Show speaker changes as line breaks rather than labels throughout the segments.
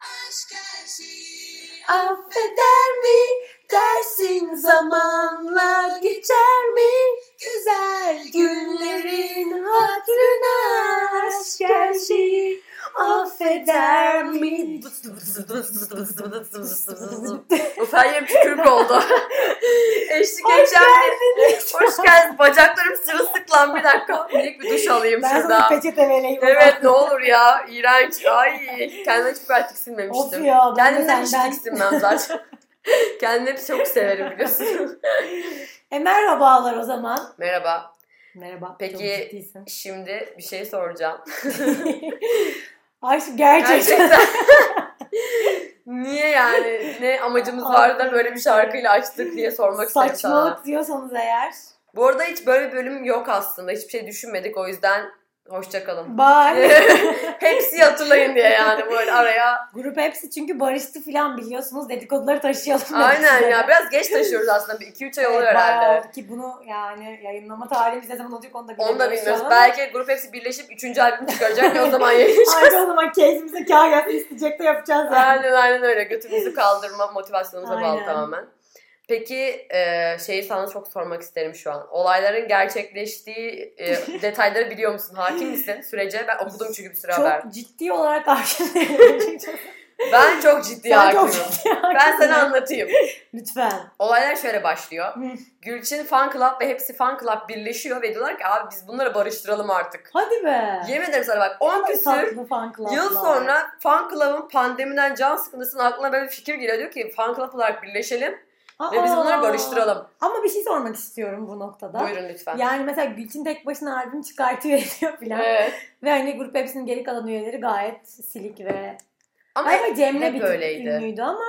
aşk her şeyi
Affeder mi dersin zamanlar geçer mi? Güzel günlerin hatırına aşk her şeyi affeder mi?
Of her yerim tükürük oldu. Eşlik
Hoş
edeceğim. Hoş geldin. Bacaklarım sırılsıklam. Bir dakika. Minik bir duş alayım
Ben sana
şurada.
peçete vereyim.
şey Evet ne olur ya. iğrenç. Ay kendime hiç pratik
Of
silmemiştim.
ya ben de
Kendimden hiç
senden.
tiksinmem zaten. Kendimi hep çok severim biliyorsun.
E merhabalar o zaman.
Merhaba.
Merhaba.
Peki-
Çok ciddiysen.
Şimdi bir şey soracağım.
Ay şu gerçekten.
Gerçekten. Niye yani? Ne amacımız vardı da böyle bir şarkıyla açtık diye sormak istedim sana.
Saçmalık diyorsanız eğer.
Bu arada hiç böyle bir bölüm yok aslında. Hiçbir şey düşünmedik o yüzden hoşçakalın.
Bye.
Hepsi hatırlayın diye yani böyle araya.
Grup hepsi çünkü barıştı filan biliyorsunuz dedikoduları taşıyalım. dedik
Aynen
size.
ya biraz geç taşıyoruz aslında. Bir 2-3 ay
Evet,
oluyor
bayağı
herhalde.
oldu Ki bunu yani yayınlama tarihimiz ne zaman olacak onu da bilmiyoruz.
Onu da bilmiyoruz.
şu an.
Belki grup hepsi birleşip 3. albüm çıkaracak ve o zaman yayınlayacak.
Ayrıca o zaman keyfimize kâr gelsin isteyecek de yapacağız yani.
aynen aynen öyle. Götümüzü kaldırma motivasyonumuza
Aynen.
bağlı tamamen. Peki e, şeyi sana çok sormak isterim şu an. Olayların gerçekleştiği e, detayları biliyor musun? Hakim misin sürece? Ben okudum çünkü bir süre haber.
Çok ciddi olarak karşılayabilirim.
Ben çok ciddi
Sen çok
hakimim. Ben sana anlatayım.
Lütfen.
Olaylar şöyle başlıyor.
Hı.
Gülçin fan club ve hepsi fan club birleşiyor ve diyorlar ki abi biz bunları barıştıralım artık.
Hadi be.
Yemin ederim sana bak 10 küsür
Tatlı fan club'lar.
yıl sonra fan club'ın pandemiden can sıkıntısının aklına böyle bir fikir geliyor. Diyor ki fan club olarak birleşelim ve biz
Aa!
bunları barıştıralım.
Ama bir şey sormak istiyorum bu noktada.
Buyurun lütfen.
Yani mesela Gülçin tek başına albüm çıkartıyor ediyor filan.
Evet.
Ve hani grup hepsinin geri kalan üyeleri gayet silik ve...
Ama
Ama Cem'le
hep
bir
öyleydi.
tık ünlüydü ama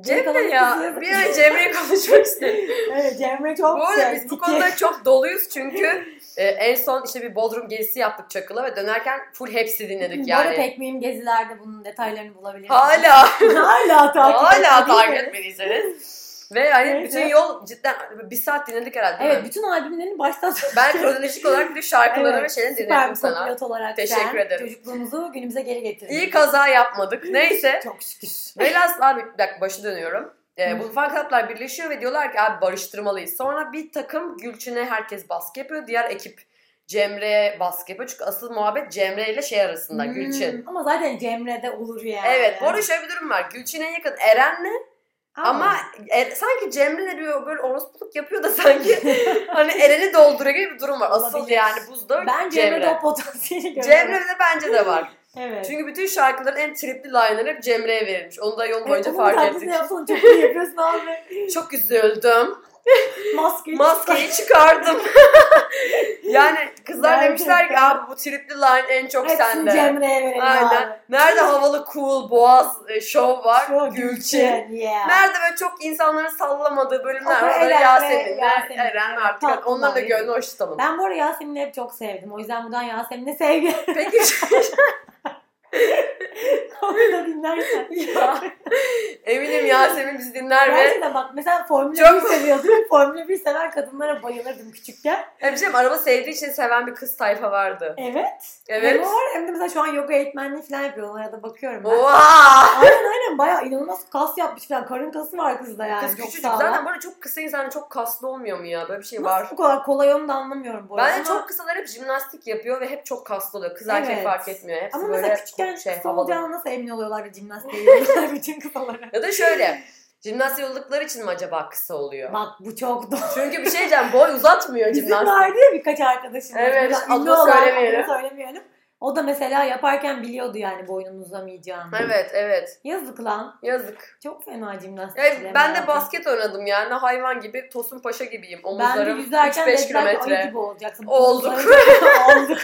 Cemre ya
Yakalanıp
bir an Cemre'yi konuşmak istedim.
evet Cemre
bu
çok
arada biz
sevdi
bu
ki.
konuda çok doluyuz çünkü e, en son işte bir Bodrum gezisi yaptık Çakıl'a ve dönerken full hepsi dinledik
Bu arada
yani.
tekniğim gezilerde bunun detaylarını bulabilirsiniz.
Hala
Hala takip
Hala
etmedi, değil mi?
takip etmeliyseniz. Ve hani
Evet,
bütün
evet.
yol cidden bir saat dinledik herhalde değil
Evet
mi?
bütün albümlerini baştan sona
Ben kronolojik olarak bir de şarkıları ve
Evet,
şeyleri
süper
dinledim
bir
sana.
kopilot olarak
Teşekkür
sen
ederim.
çocukluğumuzu günümüze geri getirdin.
İyi kaza yapmadık. Neyse.
Çok şükür.
Velhasıl abi bir dakika başı dönüyorum. Ee,
Hı.
bu fan club'lar birleşiyor ve diyorlar ki abi barıştırmalıyız. Sonra bir takım Gülçin'e herkes baskı yapıyor. Diğer ekip Cemre'ye baskı yapıyor. Çünkü asıl muhabbet Cemre ile şey arasında Gülçin.
Hmm, Ama zaten Cemre'de olur yani.
Evet bu arada şöyle bir durum var. Gülçin'e yakın Eren'le Ama er, sanki Cemre de bir böyle orospuluk yapıyor da sanki hani Eren'i dolduruyor gibi bir durum var. Asıl
Olabilir.
yani buzda
ben Cemre'de
Cemre.
o potansiyeli görüyorum.
Cemre de bence de var.
Evet.
Çünkü bütün şarkıların en tripli line'ları hep Cemre'ye verilmiş. Onu da yol boyunca
Evet, onun
fark
taklidini
ettik.
yapsana çok iyi yapıyorsun abi.
Çok üzüldüm.
Maskeyi
Maskeyi çıkardım. yani kızlar
Gerçekten.
demişler ki abi bu tripli line en çok
Hepsini
sende.
Cemre'ye verelim
Aynen.
abi.
Nerede havalı cool boğaz e, şov var?
Şu
Gülçin.
Yeah.
Nerede böyle çok insanların sallamadığı bölümler
Ama
var. Orada
Eren ve
Yasemin'ler,
Yasemin,
Eren
evet,
ve artık
tatlılar,
onların da
evet.
gönlü hoş tamam.
Ben bu arada Yasemin'i hep çok sevdim. O yüzden buradan Yasemin'e sevgi
Peki
onu da dinlersen.
ya, eminim Yasemin bizi dinler ve
Gerçekten bak mesela Formula
Çok-
1 seviyordum. Formula 1 seven kadınlara bayılırdım küçükken.
Ya bir şey mi? araba sevdiği için seven bir kız tayfa vardı.
Evet.
Evet.
Hem o var hem de mesela şu an yoga eğitmenliği falan yapıyor. Onlara da bakıyorum ben.
Oha!
Aynen aynen bayağı inanılmaz kas yapmış falan. Karın kası var kızda yani.
Kız
çok
küçücük
sağlam.
zaten böyle çok kısa insan çok kaslı olmuyor mu ya? Böyle bir şey var.
Nasıl bu kadar kolay onu da anlamıyorum bu arada.
Bence
ama-
çok kısalar hep jimnastik yapıyor ve hep çok kaslı oluyor. Kız erkek
Evet.
fark etmiyor. Hepsi
ama
böyle
mesela küçükken
şey
kısa
havalı.
olacağına nasıl emin oluyorlar ve jimnastiğe yapıyorlar bütün kısalara.
Ya da şöyle. Jimnastiği oldukları için mi acaba kısa oluyor?
Bak bu çok doğru.
Çünkü bir şey diyeceğim boy uzatmıyor
Bizim
jimnastik.
vardı ya birkaç arkadaşımız.
Evet,
Mesela
adını
ünlü olan,
söylemeyelim.
adını söylemeyelim. O da mesela yaparken biliyordu yani boynunun uzamayacağını.
Evet evet
Yazık lan.
yazık.
Çok fena jimnastik.
Ya
yani
ben de
hayatım.
basket oynadım yani hayvan gibi Tosun Paşa gibiyim.
Ben de
Omuzlarım
yüzerken
3-5
dediler ki ayı
kilometre.
gibi olacaksın.
Olduk.
Omuzlarımız- Olduk.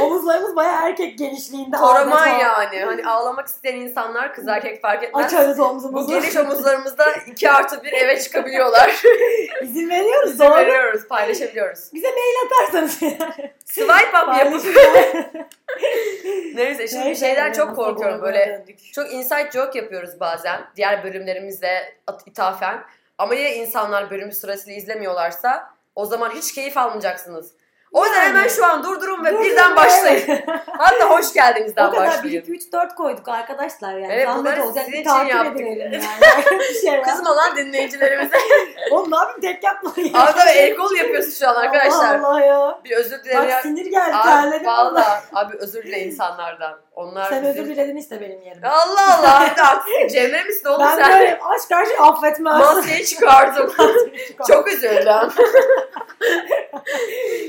Omuzlarımız bayağı erkek genişliğinde.
Koraman
Ahmet o-
yani. Hani ağlamak isteyen insanlar kız erkek fark etmez.
Açarız
Bu
omzumuzu.
geniş omuzlarımızda 2 artı 1 eve çıkabiliyorlar.
İzin veriyoruz.
Biz
Doğru.
veriyoruz, paylaşabiliyoruz.
Atarsanız.
Swipe up yapıp. Neyse şimdi
Neyse,
şeyden çok
nasıl
korkuyorum
buna
böyle.
döndük.
Çok inside joke yapıyoruz bazen. Diğer bölümlerimizle at- ithafen. Ama ya insanlar bölümü sırasıyla izlemiyorlarsa o zaman hiç keyif almayacaksınız. O yüzden
Yani.
hemen şu an durdurun ve
Durdurun
birden
ve-
başlayın. Hatta hoş
o
geldinizden
kadar 1,
başlayın.
2, 3, 4 koyduk arkadaşlar yani.
Evet,
Zahmet
bunları
olacak
sizin
bir
için
takip
yaptık.
edelim yani. bir şey var.
Kızım olan dinleyicilerimize.
Oğlum ne yapayım tek yapma ya.
Arda ve el kol yapıyorsun şu an arkadaşlar.
Allah Allah ya.
Bir özür dilerim.
Bak sinir geldi
Abi
terledim valla.
valla. Abi özür dile insanlardan. Onlar
Sen
bizim-
özür diledin işte benim yerime.
Allah Allah. Bir de artık Cemre misin oğlum
Ben
sen?
böyle aşk her şeyi affetmez.
Masaya çıkardım. Çok üzüldüm.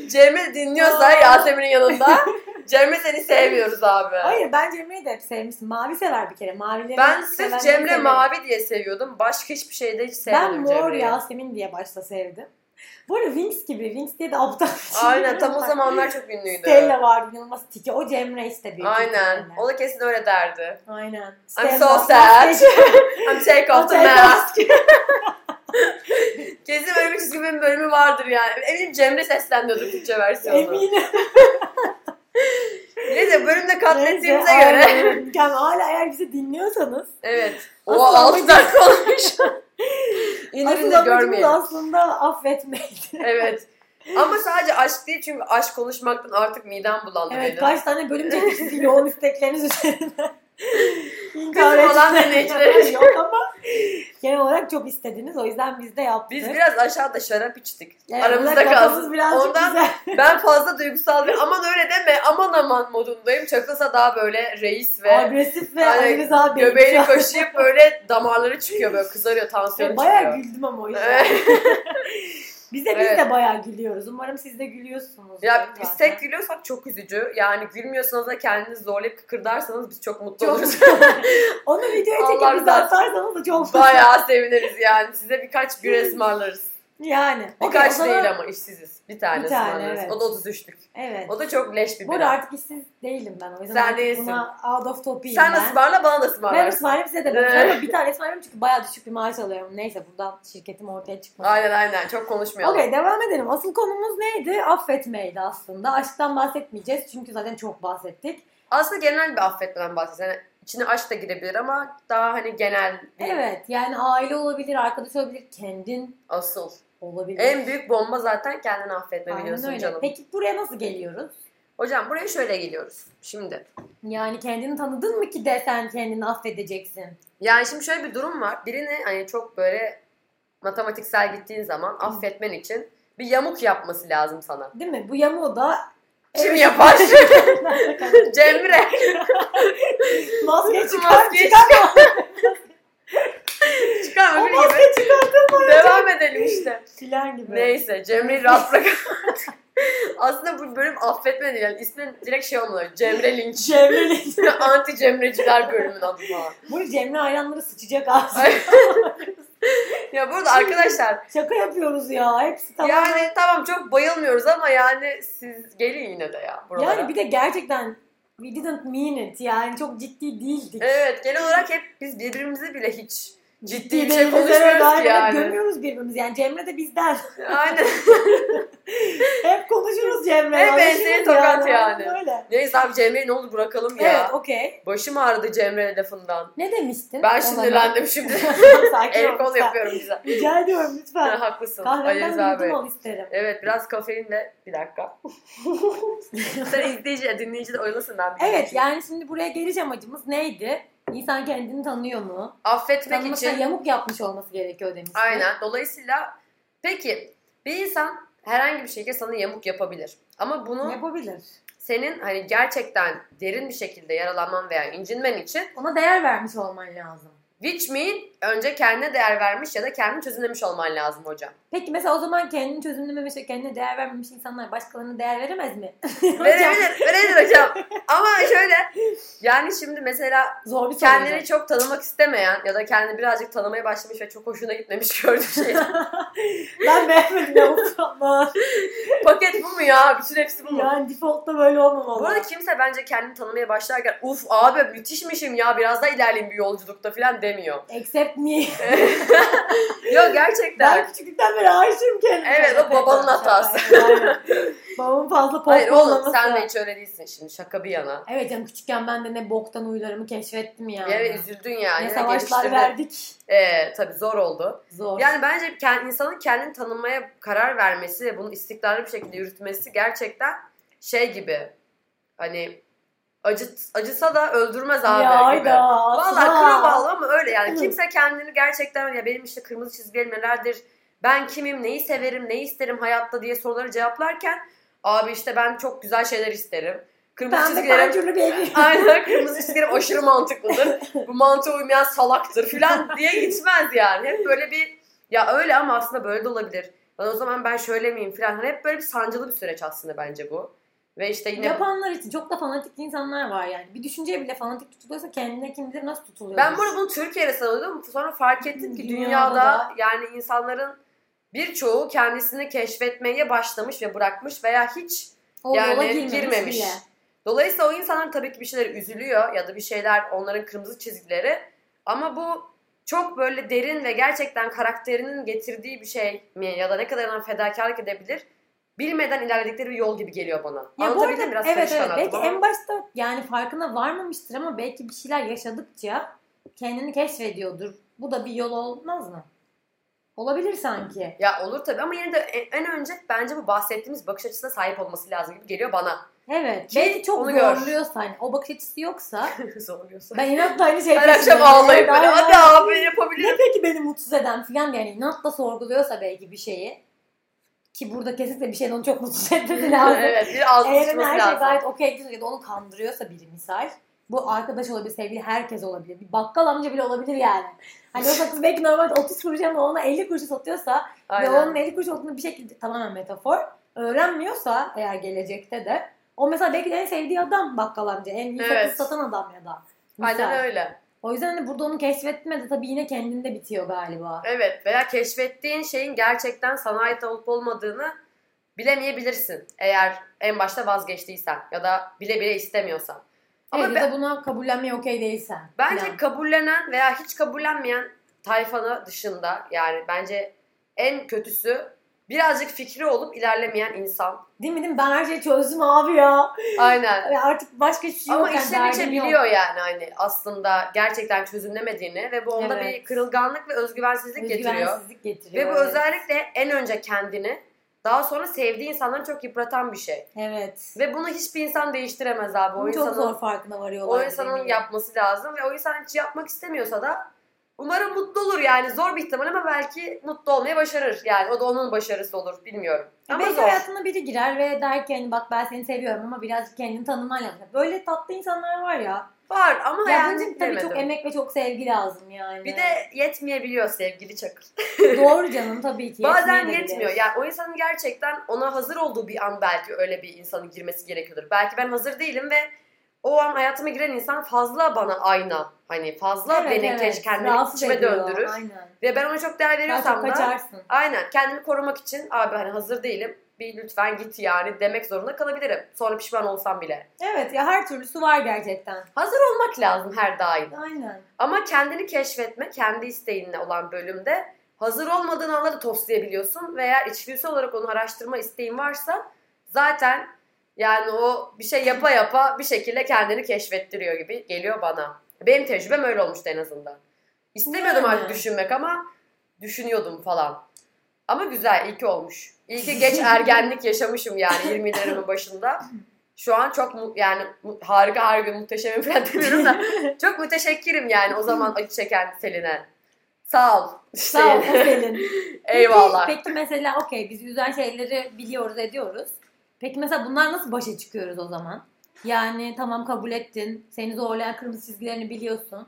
Cemre dinliyorsa
Aa.
Yasemin'in yanında. Cemre seni sevmiyoruz abi.
Hayır ben Cemre'yi de hep sevmiştim. Mavi sever bir kere. Mavileri
Ben sırf
sevenleri
Cemre
severim.
mavi diye seviyordum. Başka hiçbir şeyde hiç
Ben
sevmedim
mor
Cemre'yi.
Yasemin diye başta sevdim. Bu arada Wings gibi. Wings diye de aptal. bir şey
Aynen tam o
var.
zamanlar çok ünlüydü.
Stella vardı inanılmaz tiki. O Cemre işte büyük
Aynen.
ihtimalle.
O da kesin öyle derdi.
Aynen.
I'm
Stella,
so sad.
maskeci-
I'm take off the mask.
maskeci-
Kesin böyle bir çizgi film bölümü vardır yani. Eminim Cemre seslendiyordur Türkçe versiyonu.
Eminim.
Neyse bölümde katlettiğimize
Neyse,
göre.
aynen. Yani hala eğer bizi dinliyorsanız.
Evet.
Asıl
O 6
amacımız-
dakika olmuş.
Asıl
İndirin de
amacımız
görmeyin.
aslında affetmek.
Evet. Ama sadece aşk değil çünkü aşk konuşmaktan artık midem bulandı
evet
benim.
kaç tane bölüm çektik sizin yoğun istekleriniz üzerine. İnkar
Kızım olan
etmek
dinleyicilerimiz.
yok ama genel olarak çok istediniz. O yüzden biz de yaptık.
Biz biraz aşağıda şarap içtik.
Yani
Aramızda
bunlar kafamız
kalsın.
birazcık
Ondan
güzel.
ben fazla duygusal bir aman öyle deme aman aman modundayım. Çakılsa daha böyle reis ve
agresif ve
Aynen,
Aynen, abi.
göbeğini kaşıyıp böyle damarları çıkıyor böyle kızarıyor tansiyonu
Bayağı
çıkıyor.
güldüm ama o yüzden.
Evet.
Bize biz
Evet.
de bayağı gülüyoruz. Umarım siz de gülüyorsunuz.
ya biz tek gülüyorsak çok üzücü. Yani gülmüyorsanız da kendinizi zorlayıp kıkırdarsanız biz çok mutlu
çok
oluruz.
Onu videoya
Allah
çekip bize
razı
atarsanız da çok
Bayağı seviniriz yani. Size birkaç bir ısmarlarız.
Yani. Okey, o
Birkaç
zaman-
değil ama işsiziz. Bir tane,
Bir tane,
ısmarlarız.
evet.
O da 33'lük.
Evet.
O da çok leş bir
Bu arada
bira.
artık işsiz değilim ben. O yüzden
Sen
artık
değilsin.
buna out of top'iyim
Sen
ben.
ısmarla bana da
Ben
ısmarlarsın.
ısmarlayayım size de
Evet.
bakıyorum ama bir tane ısmarlayayım çünkü bayağı düşük bir maaş alıyorum. Neyse buradan şirketim ortaya çıkmasın.
Aynen aynen çok konuşmayalım.
Okey devam edelim. Asıl konumuz neydi? Affetmeydi aslında. Aşktan bahsetmeyeceğiz çünkü zaten çok bahsettik.
Aslında genel bir affetmeden bahsediyoruz. Yani içine aşk da girebilir ama daha hani genel bir
Evet yani aile olabilir, arkadaş olabilir, kendin
asıl.
olabilir.
En büyük bomba zaten kendini affetme
Aynen
biliyorsun
öyle.
canım.
Peki buraya nasıl geliyoruz?
Hocam buraya şöyle geliyoruz şimdi.
Yani kendini tanıdın mı ki de sen kendini affedeceksin?
Yani şimdi şöyle bir durum var. Birini hani çok böyle matematiksel gittiğin zaman affetmen için bir yamuk yapması lazım sana.
Değil mi? Bu yamuğu da
Kim yapar? Cemre.
maske çıkar,
Maske
çıkar.
Çıkar
O
öbür gibi.
maske çıkartılma.
Devam edelim işte.
Filan gibi.
Neyse Cemre'yi rahat bırak. Aslında bu bölüm affetme değil. Yani ismi direkt şey olmalı. Cemre Linç.
Cemre'li.
Anti Cemreciler bölümünün adı falan.
Bu Cemre hayranları sıçacak ağzı.
Ay. Ya burada arkadaşlar
Şaka yapıyoruz ya. Hepsi tamam. Yani,
yani tamam çok bayılmıyoruz ama yani siz gelin yine de ya buralara.
bir de gerçekten we didn't mean it. Yani çok ciddi değildik.
Evet genel olarak hep biz birbirimizi bile hiç ciddi bir şey
değiliz,
konuşmuyoruz
evet, aynen.
yani.
Gömüyoruz birbirimizi. Yani Cemre de bizden.
aynen.
Hep konuşuruz Cemre.
Hep
alışırız
enseye tokat yani.
Öyle.
Neyse abi Cemre'yi ne olur bırakalım ya.
Evet okey.
Başım ağrıdı Cemre lafından.
Ne demiştin?
Ben
o zaman?
sinirlendim şimdi.
Sakin
El
ol
kol
lütfen.
yapıyorum güzel.
Rica ediyorum lütfen.
Ha, haklısın. Ayız
Kahvemden
abi.
yudum al isterim.
Evet biraz kafeinle bir dakika. Sen izleyici, dinleyici de oyalasın ben. bir
Evet
şey.
yani şimdi buraya geliş amacımız neydi? İnsan kendini tanıyor mu?
Affetmek
Tanımasına
için.
yamuk yapmış olması gerekiyor demiştim.
Aynen. Dolayısıyla peki bir insan herhangi bir şekilde sana yamuk yapabilir. Ama bunu
Yapabilir.
senin hani gerçekten derin bir şekilde yaralanman veya incinmen için
Ona değer vermiş olman lazım.
which mean önce kendine değer vermiş ya da kendini çözümlemiş olman lazım hocam.
Peki mesela o zaman kendini çözümlememiş ve şey, kendine değer vermemiş insanlar başkalarına değer veremez mi?
Verebilir, verebilir hocam. Ama şöyle yani şimdi mesela
Zor bir soru.
kendini çok tanımak istemeyen ya da kendini birazcık tanımaya başlamış ve çok hoşuna gitmemiş gördüğü şey.
ben beğenmedim yamuk yapma.
Paket bu mu ya? Bütün hepsi bu mu?
yani defaultta böyle olmamalı.
Bu arada kimse bence kendini tanımaya başlarken uf abi müthişmişim ya biraz daha ilerleyeyim bir yolculukta falan demiyor.
Except me.
Yok gerçekten.
Ben küçüklükten beri aşığım kendime.
Evet, o babanın hatası.
Aynen. Babamın fazla
Hayır oğlum
pohpohlaması.
sen de hiç öyle değilsin şimdi şaka bir yana.
Evet canım küçükken ben de ne boktan huylarımı keşfettim yani.
Yani üzüldün yani.
ne savaşlar
geliştirdin.
verdik.
Ee, tabii zor oldu.
Zor.
Yani bence kend- insanın kendini tanımaya karar vermesi ve bunu istikrarlı bir şekilde yürütmesi gerçekten şey gibi. Hani acıt, acısa da öldürmez abi
ya
gibi.
hayda.
Valla
Aslan.
kıra bağlı ama öyle yani.
Hı.
Kimse kendini gerçekten ya benim işte kırmızı çizgilerim nelerdir, ben kimim, neyi severim, neyi isterim hayatta diye soruları cevaplarken abi işte ben çok güzel şeyler isterim. Kırmızı
Ben de
çizgilerim
pancurlu bir evim.
Aynen kırmızı çizgilerim aşırı mantıklıdır. Bu mantığa uymayan salaktır filan diye gitmez yani. Hep böyle bir ya öyle ama aslında böyle de olabilir. Lan o zaman ben şöyle miyim filan. Hani hep böyle bir sancılı bir süreç aslında bence bu. Ve işte yine
Yapanlar için çok da fanatik insanlar var yani. Bir düşünceye bile fanatik tutuluyorsa kendine kim bilir nasıl tutuluyor.
Ben burada bunu Türkiye'de sanıyordum. Sonra fark ettim ki dünyada,
Dünyada
yani insanların birçoğu kendisini keşfetmeye başlamış ve bırakmış veya hiç
o yola
yani
girmemiş.
girmemiş.
Bile.
Dolayısıyla o insanlar tabii ki bir şeyler üzülüyor ya da bir şeyler onların kırmızı çizgileri. Ama bu çok böyle derin ve gerçekten karakterinin getirdiği bir şey mi ya da ne kadar ona fedakarlık edebilir bilmeden ilerledikleri bir yol gibi geliyor bana.
Ya bu
Anlatabildim mi?
arada
biraz
evet
karışık
evet
anlattım
belki
ama.
en başta yani farkına varmamıştır ama belki bir şeyler yaşadıkça kendini keşfediyordur. Bu da bir yol olmaz mı? Olabilir sanki.
Ya olur tabii ama yine de e, en- en önce bence bu bahsettiğimiz bakış açısına sahip olması lazım gibi geliyor bana.
Evet.
Ki
belki çok
onu gör.
zorluyorsa hani o bakış açısı yoksa
Zorluyorsa.
ben inatla aynı şey
Her akşam ağlayıp böyle hadi abi yapabilirim.
Ne peki beni mutsuz eden filan yani inatla sorguluyorsa belki bir şeyi ki burada kesinlikle bir şeyin onu çok mutsuz etmesi lazım.
evet bir ağzı
Eğer hani
sıçması
her şey
lazım.
gayet okey gidiyor ya da onu kandırıyorsa biri misal. Bu arkadaş olabilir, sevgili herkes olabilir. Bir bakkal amca bile olabilir yani. Hani o sakız belki normalde 30 kuruş ama ona 50 kuruşa satıyorsa ve onun
Aynen.
50 kuruş olduğunu bir şekilde tamamen metafor öğrenmiyorsa eğer gelecekte de o mesela belki de en sevdiği adam bakkal amca. En iyi
Evet.
sakız satan adam ya da. Misal.
Aynen öyle.
O yüzden hani burada onu keşfetme de tabii yine kendinde bitiyor galiba.
Evet veya keşfettiğin şeyin gerçekten sana ait olup olmadığını bilemeyebilirsin. Eğer en başta vazgeçtiysen ya da bile bile istemiyorsan. Ama
Ama
ben-
de buna kabullenmeye okey değilsen.
Bence
falan.
kabullenen veya hiç kabullenmeyen tayfanı dışında yani bence en kötüsü birazcık fikri olup ilerlemeyen insan.
Değil mi değil mi? Ben her şeyi çözdüm abi ya.
Aynen.
Ve Artık başka hiçbir şey yok.
Ama
yani
işten içe
derdim yok.
biliyor yani hani aslında gerçekten çözümlemediğini ve bu onda
Evet.
bir kırılganlık ve özgüvensizlik getiriyor.
Özgüvensizlik getiriyor.
Ve bu
evet.
özellikle en önce kendini daha sonra sevdiği insanları çok yıpratan bir şey.
Evet.
Ve bunu hiçbir insan değiştiremez abi. O
Bunu çok
insanın,
zor farkına varıyorlar.
o insanın
dediğim
yapması lazım ve o insan hiç yapmak istemiyorsa da umarım mutlu olur yani. Zor bir ihtimal ama belki mutlu olmayı başarır. Yani o da onun başarısı olur bilmiyorum.
gibi.
Ama
E Belki
zor.
hayatına biri girer ve der ki hani bak ben seni seviyorum ama birazcık kendini tanıman lazım. Böyle tatlı insanlar var ya.
Var ama
Ya
hayatını
bunun için tabii çok
bilemedim.
emek ve çok sevgi lazım yani.
Bir de yetmeyebiliyor sevgili Çakır.
Doğru canım tabii ki.
Bazen
yetmeyebilir.
yetmiyor. Yani o insanın gerçekten ona hazır olduğu bir an belki öyle bir insanın girmesi gerekiyordur. Belki ben hazır değilim ve o an hayatıma giren insan fazla bana ayna. Hani fazla
Evet,
beni
evet.
keş- kendimi
Rahatsız
içime
ediyor,
döndürür.
Aynen.
Ve ben ona çok değer
Daha çok
veriyorsam da
kaçarsın.
aynen kendimi korumak için abi hani hazır değilim. Bir lütfen git yani demek zorunda kalabilirim. Sonra pişman olsam bile.
Evet ya her türlüsü var gerçekten.
Hazır olmak lazım her daim.
Aynen.
Ama kendini keşfetme, kendi isteğinle olan bölümde hazır olmadığın anları toslayabiliyorsun ve eğer içgüdüsel olarak onu araştırma isteğin varsa zaten yani o bir şey yapa yapa bir şekilde kendini keşfettiriyor gibi geliyor bana. Benim tecrübem öyle olmuştu en azından. İstemiyordum
Yani.
artık düşünmek ama düşünüyordum falan. Ama güzel, iyi ki olmuş. İyi ki geç ergenlik yaşamışım yani 20'lerimin başında. Şu an çok mu- yani mu- harika harika muhteşemim falan demiyorum da çok müteşekkirim yani o zaman acı çeken Selin'e. Sağ ol.
Sağ ol
Selin.
Selin.
Eyvallah.
Peki, peki mesela okey biz güzel şeyleri biliyoruz ediyoruz. Peki mesela bunlar nasıl başa çıkıyoruz o zaman? Yani tamam kabul ettin. Seni zorlayan kırmızı çizgilerini biliyorsun.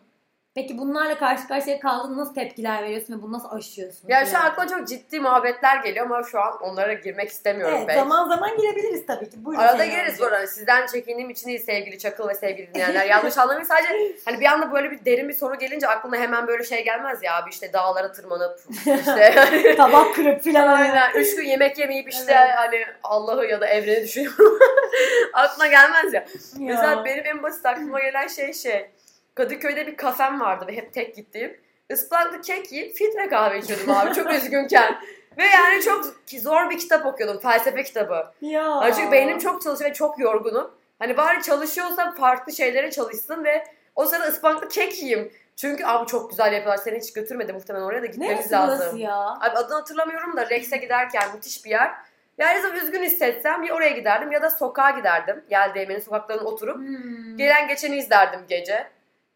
Peki bunlarla karşı karşıya kaldın nasıl tepkiler veriyorsun ve bunu nasıl aşıyorsun?
Ya şu an
Yani.
aklıma çok ciddi muhabbetler geliyor ama şu an onlara girmek istemiyorum
Evet
ben.
zaman zaman girebiliriz tabii ki. Buyurun
Arada
Selin
gireriz bu
amca.
arada. Sizden çekindiğim için değil sevgili Çakıl ve sevgili dinleyenler. Yanlış anlamayın sadece hani bir anda böyle bir derin bir soru gelince aklına hemen böyle şey gelmez ya abi işte dağlara tırmanıp işte
Tabak kırıp filan. Aynen.
Aynen. Üç gün yemek yemeyip işte
Evet.
hani Allah'ı ya da evreni düşünüyorum. Aklına gelmez ya. Mesela benim en basit aklıma gelen şey şey. Kadıköy'de bir kafem vardı ve hep tek gittiğim. Ispanaklı kek yiyip filtre kahve içiyordum abi çok üzgünken. Ve yani çok ki zor bir kitap okuyordum. Felsefe kitabı.
Ya.
Yani Çünkü beynim çok çalışıyor ve çok yorgunum. Hani bari çalışıyorsam farklı şeylere çalışsın ve o sırada ıspanaklı kek yiyeyim. Çünkü abi çok güzel yapıyorlar. Seni hiç götürmedi muhtemelen oraya da gitmemiz
Neresi
lazım.
burası ya?
Abi adını hatırlamıyorum da Rex'e giderken müthiş bir yer. Yani zaman üzgün hissetsem ya oraya giderdim ya da sokağa giderdim. Yel değmenin sokaklarına oturup.
Hmm.
Gelen geçeni izlerdim gece.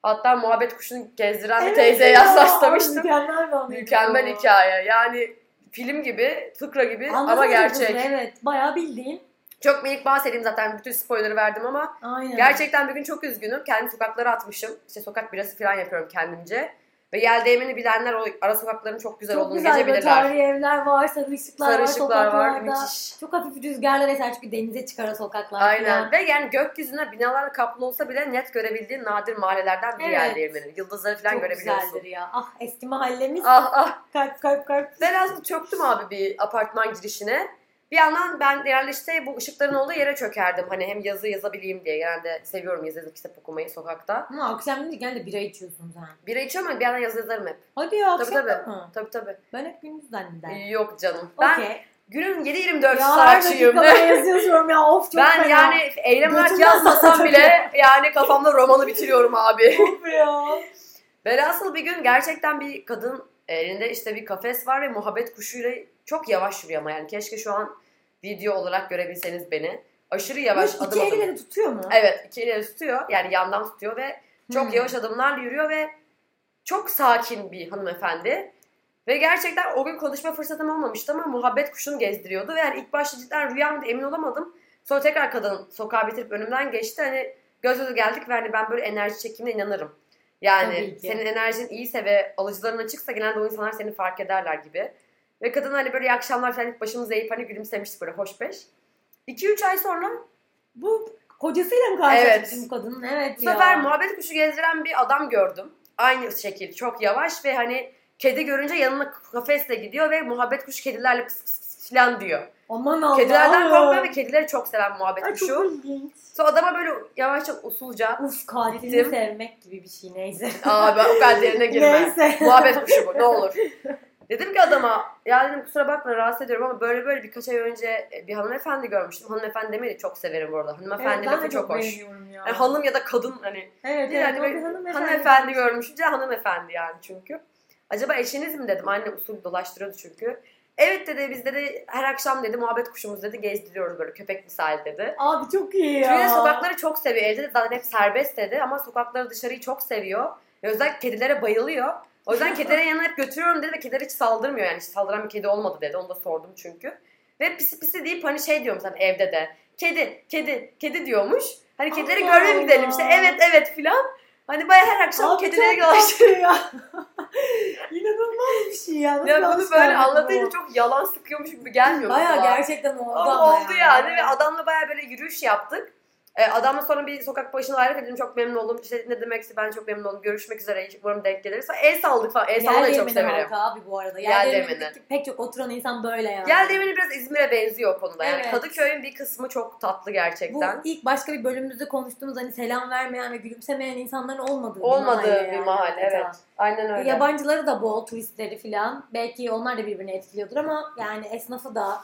Hatta muhabbet kuşunu gezdiren bir
Evet
teyzeye
ya,
yaslamıştım.
ay Mükemmel bir anıydı.
Mükemmel hikaye. Yani film gibi, fıkra gibi
Anladın
ama
mı
gerçek.
kızı? Evet. Bayağı bildiğin.
Çok minik bahsedeyim zaten bütün spoiler'ı verdim ama
Aynen.
Gerçekten bir gün çok üzgünüm. Kendi sokaklara atmışım. İşte sokak birası falan yapıyorum kendimce. Ve yeldeyimini bilenler o ara sokakların çok güzel
Çok
olduğunu
güzel
gece
böyle
bilirler.
tarihi evler var, sarı ışıklar
Sarı
var
ışıklar
sokaklarda.
var. Müthiş.
Çok hafif rüzgarlar eser çünkü denize çıkar o sokaklar.
Aynen.
falan.
Ve yani gökyüzüne binalarla kaplı olsa bile net görebildiğin nadir mahallelerden bir
Evet.
yeldeyimini. Yıldızları falan
Çok
görebiliyorsun.
güzeldir ya. Ah eski mahallemiz.
Ah ah.
Kalp kalp kalp.
Ben aslında çöktüm abi bir apartman girişine. Bir yandan ben genelde işte bu ışıkların olduğu yere çökerdim. Hani hem yazı yazabileyim diye. Genelde seviyorum yazı yazıp kitap okumayı sokakta.
Ama akşam gidince genelde bira içiyorsun sen.
Bira içiyorum ama bir yandan yazı yazarım hep.
Hadi ya
Tabii
akşam
tabii.
da mı?
Tabii tabii.
Ben hep gündüz zannederim.
Yok canım. Ben
Okey.
Günün 7-24
Ya her
saatçıyım.
dakikada yazıyorum ya of çok
Ben
fena.
yani eylem olarak
Götümden
yazmasam
zaten.
bile yani kafamda romanı bitiriyorum abi.
Of ya.
Velhasıl bir gün gerçekten bir kadın elinde işte bir kafes var ve muhabbet kuşuyla çok yavaş yürüyor ama yani keşke şu an video olarak görebilseniz beni. Aşırı yavaş
Yavaş,
adım
iki
adım.
eliyle de tutuyor mu?
Evet iki eliyle tutuyor yani yandan tutuyor ve çok
Hmm.
yavaş adımlarla yürüyor ve çok sakin bir hanımefendi. Ve gerçekten o gün konuşma fırsatım olmamıştı ama muhabbet kuşunu gezdiriyordu. Ve yani ilk başta cidden rüyamdı emin olamadım. Sonra tekrar kadın sokağa bitirip önümden geçti. Hani göz göze geldik ve hani ben böyle enerji çekimine inanırım. Yani
Tabii ki.
senin enerjin iyiyse ve alıcıların açıksa genelde o insanlar seni fark ederler gibi. Ve kadın hani böyle iyi akşamlar falan ilk başımıza eğip hani gülümsemiştik böyle hoş beş. 2-3 ay sonra
Bu kocasıyla mı karşılaştı
Evet.
bu kadının? Evet
bu
ya.
sefer muhabbet kuşu gezdiren bir adam gördüm. Aynı şekil çok yavaş ve hani kedi görünce yanına kafesle gidiyor ve muhabbet kuşu kedilerle pıs pıs pıs filan diyor.
Aman Allah'ım.
Kedilerden korkmuyor ve kedileri çok seven muhabbet
Ay
kuşu.
çok ilginç.
Sonra adama böyle yavaşça usulca
Uf katilini
Gittim.
sevmek gibi bir şey neyse.
abi o kadar derine girme.
neyse.
muhabbet kuşu bu ne olur. Dedim ki adama ya dedim kusura bakma rahatsız ediyorum ama böyle böyle birkaç ay önce e, bir hanımefendi görmüştüm. Hanımefendi demeyi de çok severim bu arada. Hanımefendi
Evet, ben
lafı
de
çok
çok
hoş.
beğeniyorum ya.
Yani hanım ya da kadın hani
evet,
Bir
evet,
hani
o
böyle
bir hanımefendi.
Hanımefendi görmüşünce hanımefendi yani çünkü. Acaba eşiniz mi dedim. Anne usul dolaştırıyordu çünkü. Evet dedi biz dedi her akşam dedi muhabbet kuşumuz dedi gezdiriyoruz böyle köpek misali dedi.
Abi çok iyi ya.
Çünkü sokakları çok seviyor. Evde de zaten hep serbest dedi ama sokakları dışarıyı çok seviyor. Ve özellikle kedilere bayılıyor. O yüzden kedilere yanına hep götürüyorum dedi ve kediler hiç saldırmıyor yani. Hiç saldıran bir kedi olmadı dedi. Onu da sordum çünkü. Ve pisi pisi deyip hani şey diyorum zaten evde de. Kedi, kedi, kedi diyormuş. Hani kedileri
Allah
görmeye mi gidelim işte
Allah.
evet evet filan. Hani baya her akşam
Abi
kedileri
çok
dolaşıyor.
tatlı ya. İnanılmaz bir şey ya. Nasıl
Ya bunu
yanlış
böyle
kaldı bu?
anlatınca çok yalan sıkıyormuş gibi gelmiyor. mu
Baya
kulağa?
gerçekten oldu
Ama
ama
oldu yani. ve adamla baya böyle yürüyüş yaptık. Ee, adamla sonra bir sokak başına ayrı dedim çok memnun oldum. İşte ne demekse ben çok memnun oldum. Görüşmek üzere umarım denk geliriz. Sonra el salladık falan. El sallamayı çok
Yerdeğmenin
severim.
halkı abi bu arada.
Yer
Yerdeğmenin
değmeni.
pek çok oturan insan böyle yani.
Gel demeni biraz İzmir'e benziyor o konuda. Yani
Evet.
Kadıköy'ün bir kısmı çok tatlı
Bu
gerçekten.
ilk başka bir bölümümüzde konuştuğumuz hani selam vermeyen ve gülümsemeyen insanların olmadığı
Olmadığı
mahalle
bir
yani
mahalle
hakikaten.
evet. Aynen öyle.
Yabancıları da bol, turistleri filan. Belki onlar da birbirini etkiliyordur ama yani esnafı da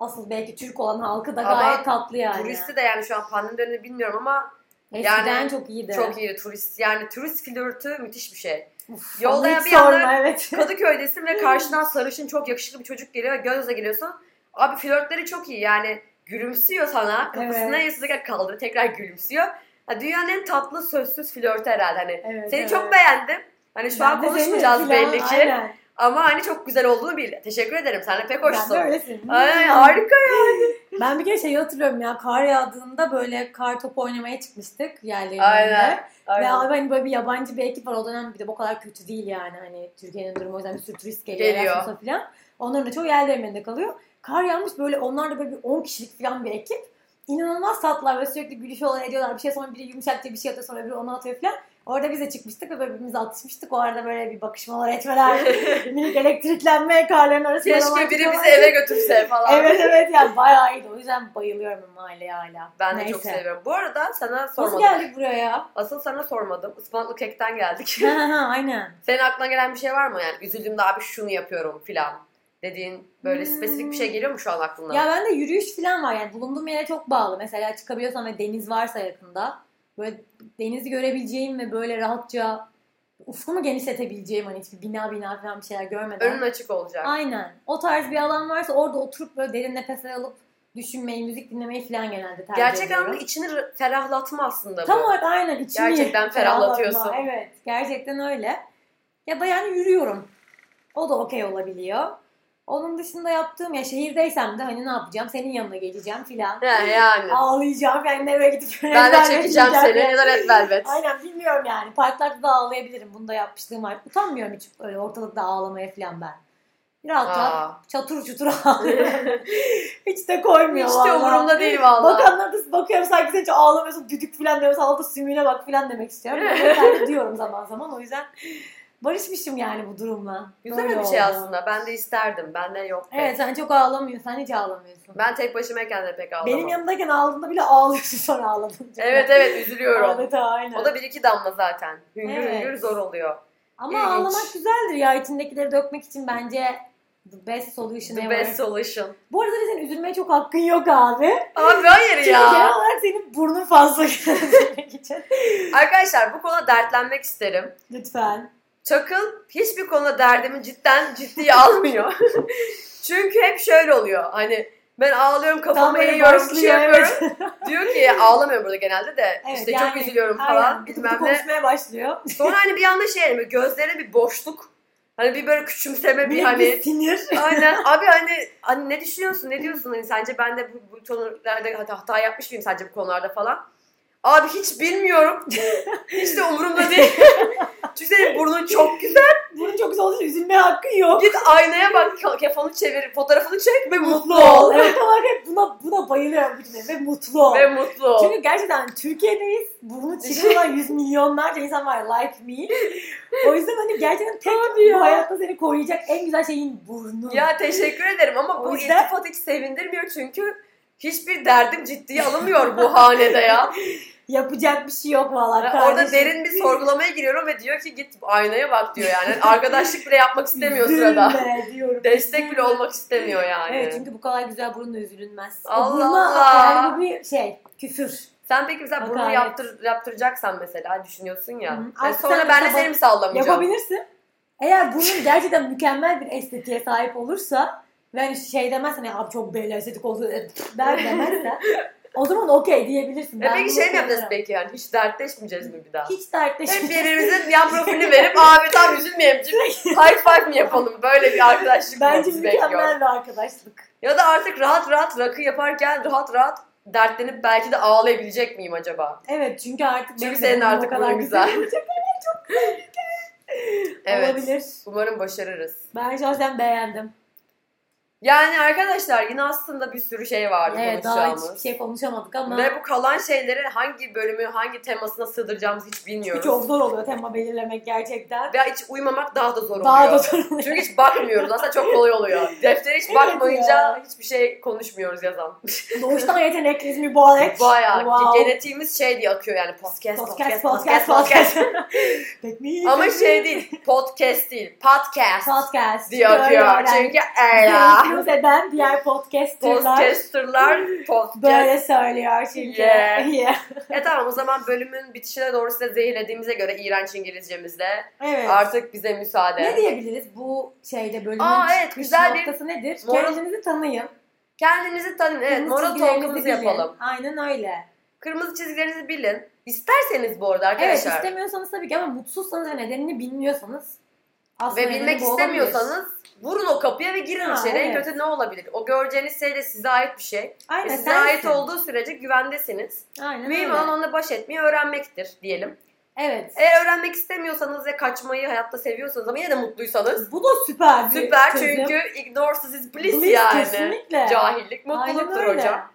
asıl belki Türk olan halkı da
Ama
gayet tatlı yani.
Turisti de yani şu an pandemi dönemi bilmiyorum ama
Eskiden
yani
çok iyiydi.
çok iyi turist. Yani turist flörtü müthiş bir şey.
Uf,
Yolda
onu
ya
hiç
bir anda-
sorma, evet.
Kadıköy'desin ve karşıdan sarışın çok yakışıklı bir çocuk geliyor. Gözle geliyorsun. Abi flörtleri çok iyi yani. Gülümsüyor sana. Kapısına
Evet.
yasızlıkla kaldırıyor. Tekrar gülümsüyor. Ha, dünyanın en tatlı sözsüz flörtü herhalde. Hani
Evet,
seni
evet.
çok beğendim. Hani şu
Ben
an
de seni
konuşmayacağız
filan,
belli ki.
aynen.
Ama hani çok güzel olduğunu bil. Teşekkür ederim. Sen de pek
Ben
hoşsun.
de Hmm. öylesin.
Ay, harika.
Ben bir kere şeyi hatırlıyorum ya kar yağdığında böyle kar topu oynamaya çıkmıştık yerlerinde.
Aynen.
Ve
Aynen.
abi hani böyle bir yabancı bir ekip var o dönem bir de bu kadar kötü değil yani hani Türkiye'nin durumu o yüzden bir sürü turist geliyor.
Geliyor.
Erasmus'a Falan. Onların da çoğu yer değirmeninde kalıyor. Kar yağmış böyle onlar da böyle bir 10 kişilik falan bir ekip. İnanılmaz tatlılar ve sürekli gülüşüyorlar ediyorlar bir şey sonra biri yumuşak diye bir şey atıyor sonra biri onu atıyor falan. Orada biz de çıkmıştık ve birbirimize atışmıştık. O arada böyle bir bakışmalar etmeler, minik elektriklenme karların arasında.
Keşke
romantik
biri bizi
romantik.
eve götürse falan.
Evet evet yani bayağı iyiydi. O yüzden bayılıyorum o mahalleye hala.
Ben de çok
Neyse.
seviyorum. Bu arada sana
Nasıl
sormadım.
geldik buraya ya?
Asıl sana sormadım. Ispanaklı kekten geldik.
Ha, ha, ha, Aynen.
Senin aklına gelen bir şey var mı? Yani üzüldüğümde abi şunu yapıyorum filan dediğin böyle
Hmm.
spesifik bir şey geliyor mu şu an aklına?
Ya bende yürüyüş falan var yani bulunduğum yere çok bağlı. Mesela çıkabiliyorsam ve deniz varsa yakında böyle denizi görebileceğim ve böyle rahatça ufkumu genişletebileceğim hani hiçbir bina bina falan bir şeyler görmeden.
Önün açık olacak.
Aynen. O tarz bir alan varsa orada oturup böyle derin nefesler alıp düşünmeyi, müzik dinlemeyi falan genelde tercih
Gerçek
ediyorum.
anlamda içini r- ferahlatma aslında bu.
Tam olarak aynen içimi
Gerçekten ferahlatıyorsun.
ferahlatma. Evet. Gerçekten öyle. Ya da yani yürüyorum. O da okey olabiliyor. Onun dışında yaptığım ya şehirdeysem de hani ne yapacağım? Senin yanına geleceğim filan.
Yani, yani.
Ağlayacağım yani eve gidip
Ben de
öğretmenle
çekeceğim seni
gideceğim.
ya da Red Velvet.
Aynen bilmiyorum yani. Parklarda da ağlayabilirim. Bunu da yapmışlığım var. Utanmıyorum hiç öyle ortalıkta ağlamaya filan ben. Biraz daha
Aa.
çatır çutur ağlıyorum. hiç de koymuyor
Hiç de
vallahi.
umurumda değil valla.
Bakanlara da bakıyorum sanki sen hiç ağlamıyorsun düdük falan diyorum sana da sümüğüne bak falan demek istiyorum. Ben de diyorum zaman zaman o yüzden barışmışım yani bu durumla.
Güzel
Böyle
bir şey
oldu.
aslında. Ben de isterdim. Bende yok. be.
Evet sen çok ağlamıyorsun sen hiç ağlamıyorsun.
Ben tek başımayken de pek ağlamam.
Benim yanımdayken ağladığında bile ağlıyorsun sonra ağladın.
Evet evet üzülüyorum.
Evet aynen.
O da bir iki damla zaten. Hüngür
Evet.
hüngür zor oluyor.
Ama
ilginç.
ağlamak güzeldir ya içindekileri dökmek için bence the best solution
The
ever.
best solution.
Bu arada da senin üzülmeye çok hakkın yok abi.
Abi hayır
Çünkü genel
ya.
olarak senin burnun fazla gelmek için.
Arkadaşlar bu konuda dertlenmek isterim.
Lütfen.
Çakıl hiçbir konuda derdimi cidden ciddiye almıyor. Çünkü hep şöyle oluyor. Hani ben ağlıyorum
Tam
kafamı
böyle
eğiyorum bir şey
başlıyor,
yapıyorum. Diyor ki ağlamıyorum burada genelde de
Evet,
işte
yani,
çok üzülüyorum falan
Aynen. Bir
bilmem ne.
konuşmaya başlıyor.
Sonra hani bir anda şey hani böyle gözlerine bir boşluk. Hani bir böyle küçümseme bir
Bir,
hani.
bir sinir.
Aynen abi hani, hani ne düşünüyorsun ne diyorsun hani sence ben de bu, bu konularda hata, hata yapmış mıyım sence bu konularda falan. Abi hiç bilmiyorum. hiç de umurumda değil. Çünkü senin burnun çok güzel.
Bunun çok güzel olduğu için üzülmeye hakkın yok.
Git aynaya bak, kafamı çevir, fotoğrafını çek ve mutlu ol.
Ol. Evet olarak hep buna, buna bayılıyorum bütün ev. ve mutlu ol.
Ve mutlu ol.
Çünkü gerçekten Türkiye'deyiz. Burnu çıkıp olan yüz milyonlarca insan var like me. O yüzden hani gerçekten tek
ya.
bu hayatta seni koruyacak en güzel şeyin burnu.
Ya teşekkür ederim ama
O
bu
yüzden-
iltifat hiç sevindirmiyor çünkü hiçbir derdim ciddiye alınmıyor bu hanede ya.
Yapacak bir şey yok vallahi.
Yani orada
kardeşim.
derin bir sorgulamaya giriyorum ve diyor ki git aynaya bak diyor yani. Arkadaşlık bile yapmak istemiyor sırada.
Üzülme diyorum.
Destek
Üzülme.
bile olmak istemiyor yani.
Evet çünkü bu kadar güzel burunla üzülünmez. O
Allah
buruna-
Allah.
Yani bu bir şey küfür.
Sen peki mesela burnu
Hakaret.
yaptır, yaptıracaksan mesela düşünüyorsun ya.
Hı hı.
E
Artık
sonra
sen
ben de
mesela
seni mi sallamayacağım?
Yapabilirsin. Eğer bunun gerçekten mükemmel bir estetiğe sahip olursa ve hani şey demezsen ya abi çok belli estetik oldu e, pf, der demezse o zaman okey diyebilirsin.
E peki
bunu
şey mi yapacağız
seviyorum.
peki yani hiç dertleşmeyeceğiz mi bir daha?
Hiç
Hep
dertleşmeyeceğiz.
birbirimizin yan profilini verip abi tam üzülmeyelim. High five mi yapalım? Böyle bir arkadaşlık
Bence
bizi bekliyor.
mükemmel bir arkadaşlık.
Ya da artık rahat rahat rakı yaparken rahat rahat dertlenip belki de ağlayabilecek miyim acaba?
Evet çünkü artık
Çünkü
benim de
senin
burnum o
artık burnun güzel. Evet.
Olabilir.
Umarım başarırız.
Ben şahsen beğendim.
Yani arkadaşlar yine aslında bir sürü şey vardı
Evet daha hiçbir
konuşacağımız.
şey konuşamadık ama
Ve bu kalan şeyleri hangi bölümü, hangi temasına sığdıracağımızı hiç bilmiyoruz.
çok zor oluyor tema belirlemek gerçekten.
Ve hiç uymamak daha da zor oluyor.
Daha da zor oluyor.
Çünkü hiç bakmıyoruz. Aslında çok kolay oluyor. Deftere hiç
Evet
bakmayınca
ya.
hiçbir şey konuşmuyoruz yazan.
Doğuştan yetenekliyiz mübarek.
Bayağı
Wow.
genetiğimiz şey diye akıyor yani podcast
Podcast,
podcast
podcast,
podcast podcast.
podcast. Pek mi?
Ama şey değil podcast değil podcast,
podcast.
diye akıyor. Çünkü
ya.
eee
eden diğer podcasterlar
podcasterlar podcast.
böyle söylüyor çünkü.
Yeah.
Yeah.
e tamam o zaman bölümün bitişine doğru size zehirlediğimize göre iğrenç İngilizcemizle
Evet.
artık bize
ne
müsaade.
diyebiliriz bu şeyde bölümün
Aa, evet,
çıkış
güzel bir
noktası nedir?
moral-
Kendinizi tanıyın.
Kendinizi tanın. Evet
Kırmızı
moral
çizgilerinizi
talk'ımızı
bilin.
yapalım.
Aynen öyle.
Kırmızı çizgilerinizi bilin. İsterseniz bu arada
Evet
arkadaşlar.
istemiyorsanız tabii ki ama mutsuzsanız ve nedenini bilmiyorsanız aslında
ve
nedeni
bilmek
bu olabilir.
istemiyorsanız vurun o kapıya ve girin
Ha,
içeri. En
evet.
kötü ne olabilir? O göreceğiniz şey de size ait bir şey.
Aynen,
Ve size
sensin.
ait olduğu sürece güvendesiniz.
Aynen
Mühim
öyle.
olan onunla baş etmeyi öğrenmektir diyelim.
Evet.
Eğer öğrenmek istemiyorsanız ve kaçmayı hayatta seviyorsanız ama yine de mutluysanız
Bu da süper bir
süper
çözüm.
çünkü ignorance is bliss,
Bliss
yani.
Kesinlikle.
Cahillik
Aynen
mutluluktur
öyle.
hocam.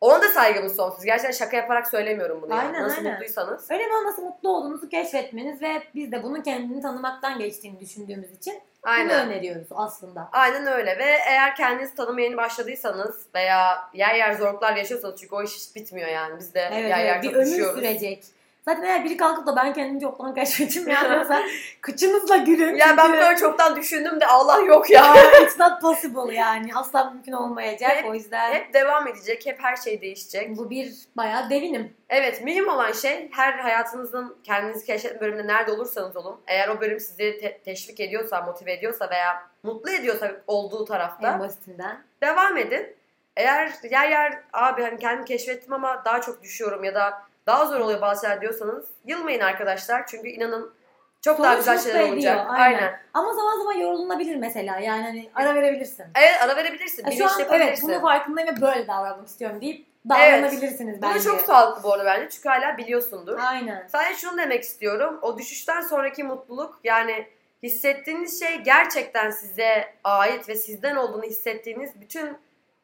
Ona da saygımız sonsuz. Gerçekten şaka yaparak söylemiyorum bunu. yani.
Aynen,
Nasıl
aynen.
mutluysanız.
Önemli olan nasıl mutlu olduğunuzu keşfetmeniz ve biz de bunun kendini tanımaktan geçtiğini düşündüğümüz için bunu
Aynen.
öneriyoruz aslında.
Aynen öyle ve eğer kendinizi tanıma yeni başladıysanız veya yer yer zorluklar yaşıyorsanız çünkü o iş hiç bitmiyor yani. Biz de
Evet,
yer
evet,
yer
bir
çok
ömür
düşüyoruz.
sürecek. Zaten eğer biri kalkıp da ben kendimi çoktan keşfettim ya diyorsa kıçınızla gülün.
Ya ben
çünkü-
böyle çoktan düşündüm de Allah yok ya.
Aa, It's not possible yani. Asla mümkün olmayacak.
Hep-
o yüzden
Hep devam edecek, hep her şey değişecek.
bu bir bayağı devinim.
Evet, mühim olan şey her hayatınızın kendinizi keşfetme bölümünde nerede olursanız olun. Eğer o bölüm sizi te- teşvik ediyorsa, motive ediyorsa veya mutlu ediyorsa olduğu tarafta
En basitinden.
devam edin. Eğer yer yer abi hani kendimi keşfettim ama daha çok düşüyorum ya da daha zor oluyor bazı şeyler diyorsanız yılmayın arkadaşlar. Çünkü inanın çok daha
Sonuç
güzel
mutlu
şeyler
ediyor,
olacak.
aynen.
Aynen.
Ama zaman zaman yorulunabilir mesela. Yani hani ara verebilirsin.
Evet ara verebilirsin.
Ya
Bir
E, şu an evet
yapabilirsin.
bunun farkındayım ve böyle davranmak istiyorum deyip
Evet.
davranabilirsiniz
Bu
bence.
da çok sağlıklı bu arada bence. Çünkü hala biliyorsundur.
Aynen.
Sadece şunu demek istiyorum. O düşüşten sonraki mutluluk yani hissettiğiniz şey gerçekten size ait ve sizden olduğunu hissettiğiniz bütün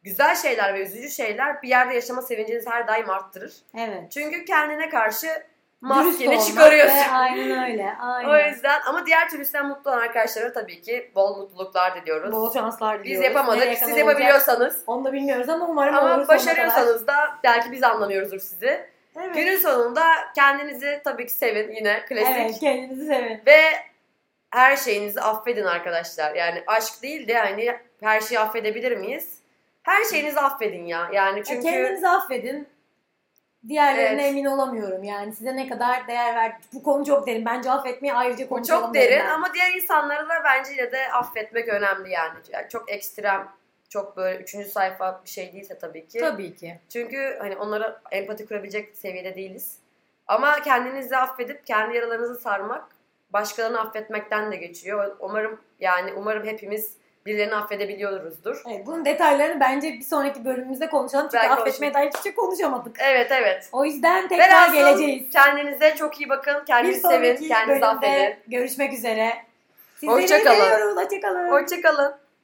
güzel şeyler ve üzücü şeyler bir yerde yaşama sevincinizi her daim arttırır.
Evet.
Çünkü kendine karşı
Dürüst
maskeni
olmak
çıkarıyorsun.
ve Aynen öyle.
O
Aynen.
yüzden ama diğer türlüsten mutlu olan arkadaşlara tabii ki bol mutluluklar diliyoruz.
Bol şanslar diliyoruz.
Biz yapamadık.
Nereye
Siz
kadar olacak
yapabiliyorsanız
Onu da bilmiyoruz ama umarım olur
ama
sonuna kadar.
başarıyorsanız da belki biz anlamıyoruzdur sizi.
Evet.
Günün sonunda kendinizi tabii ki sevin yine klasik.
Evet kendinizi sevin. E,
Ve her şeyinizi affedin arkadaşlar. Yani aşk değil de hani her şeyi affedebilir miyiz? Her şeyinizi affedin ya. Yani
Çünkü...
çünkü
Kendinizi affedin. Diğerlerine
Evet.
emin olamıyorum yani. Size ne kadar değer verdik. Bu konu çok derin. Bence affetmeyi ayrıca
bu
konuşalım.
çok
derim
derin
ben.
ama diğer insanlara da bence yine de affetmek önemli yani. Yani çok ekstrem, çok böyle üçüncü sayfa bir şey değilse tabii ki.
Tabii ki.
Çünkü hani onlara empati kurabilecek seviyede değiliz. Ama kendinizi affedip kendi yaralarınızı sarmak başkalarını affetmekten de geçiyor. Umarım yani umarım hepimiz birilerini affedebiliyoruzdur.
Evet, bunun detaylarını bence bir sonraki bölümümüzde konuşalım. Çünkü
Belki
affetmeye dair hiçbir şey konuşamadık.
Evet evet.
O yüzden tekrar
Velhasıl
geleceğiz.
Kendinize çok iyi bakın.
Bir
Kendinizi sevin.
sonraki
Kendinizi affedin.
bölümde görüşmek üzere. Sizleri
Hoşça kalın.
seviyoruz. Hoşçakalın.
Hoşçakalın.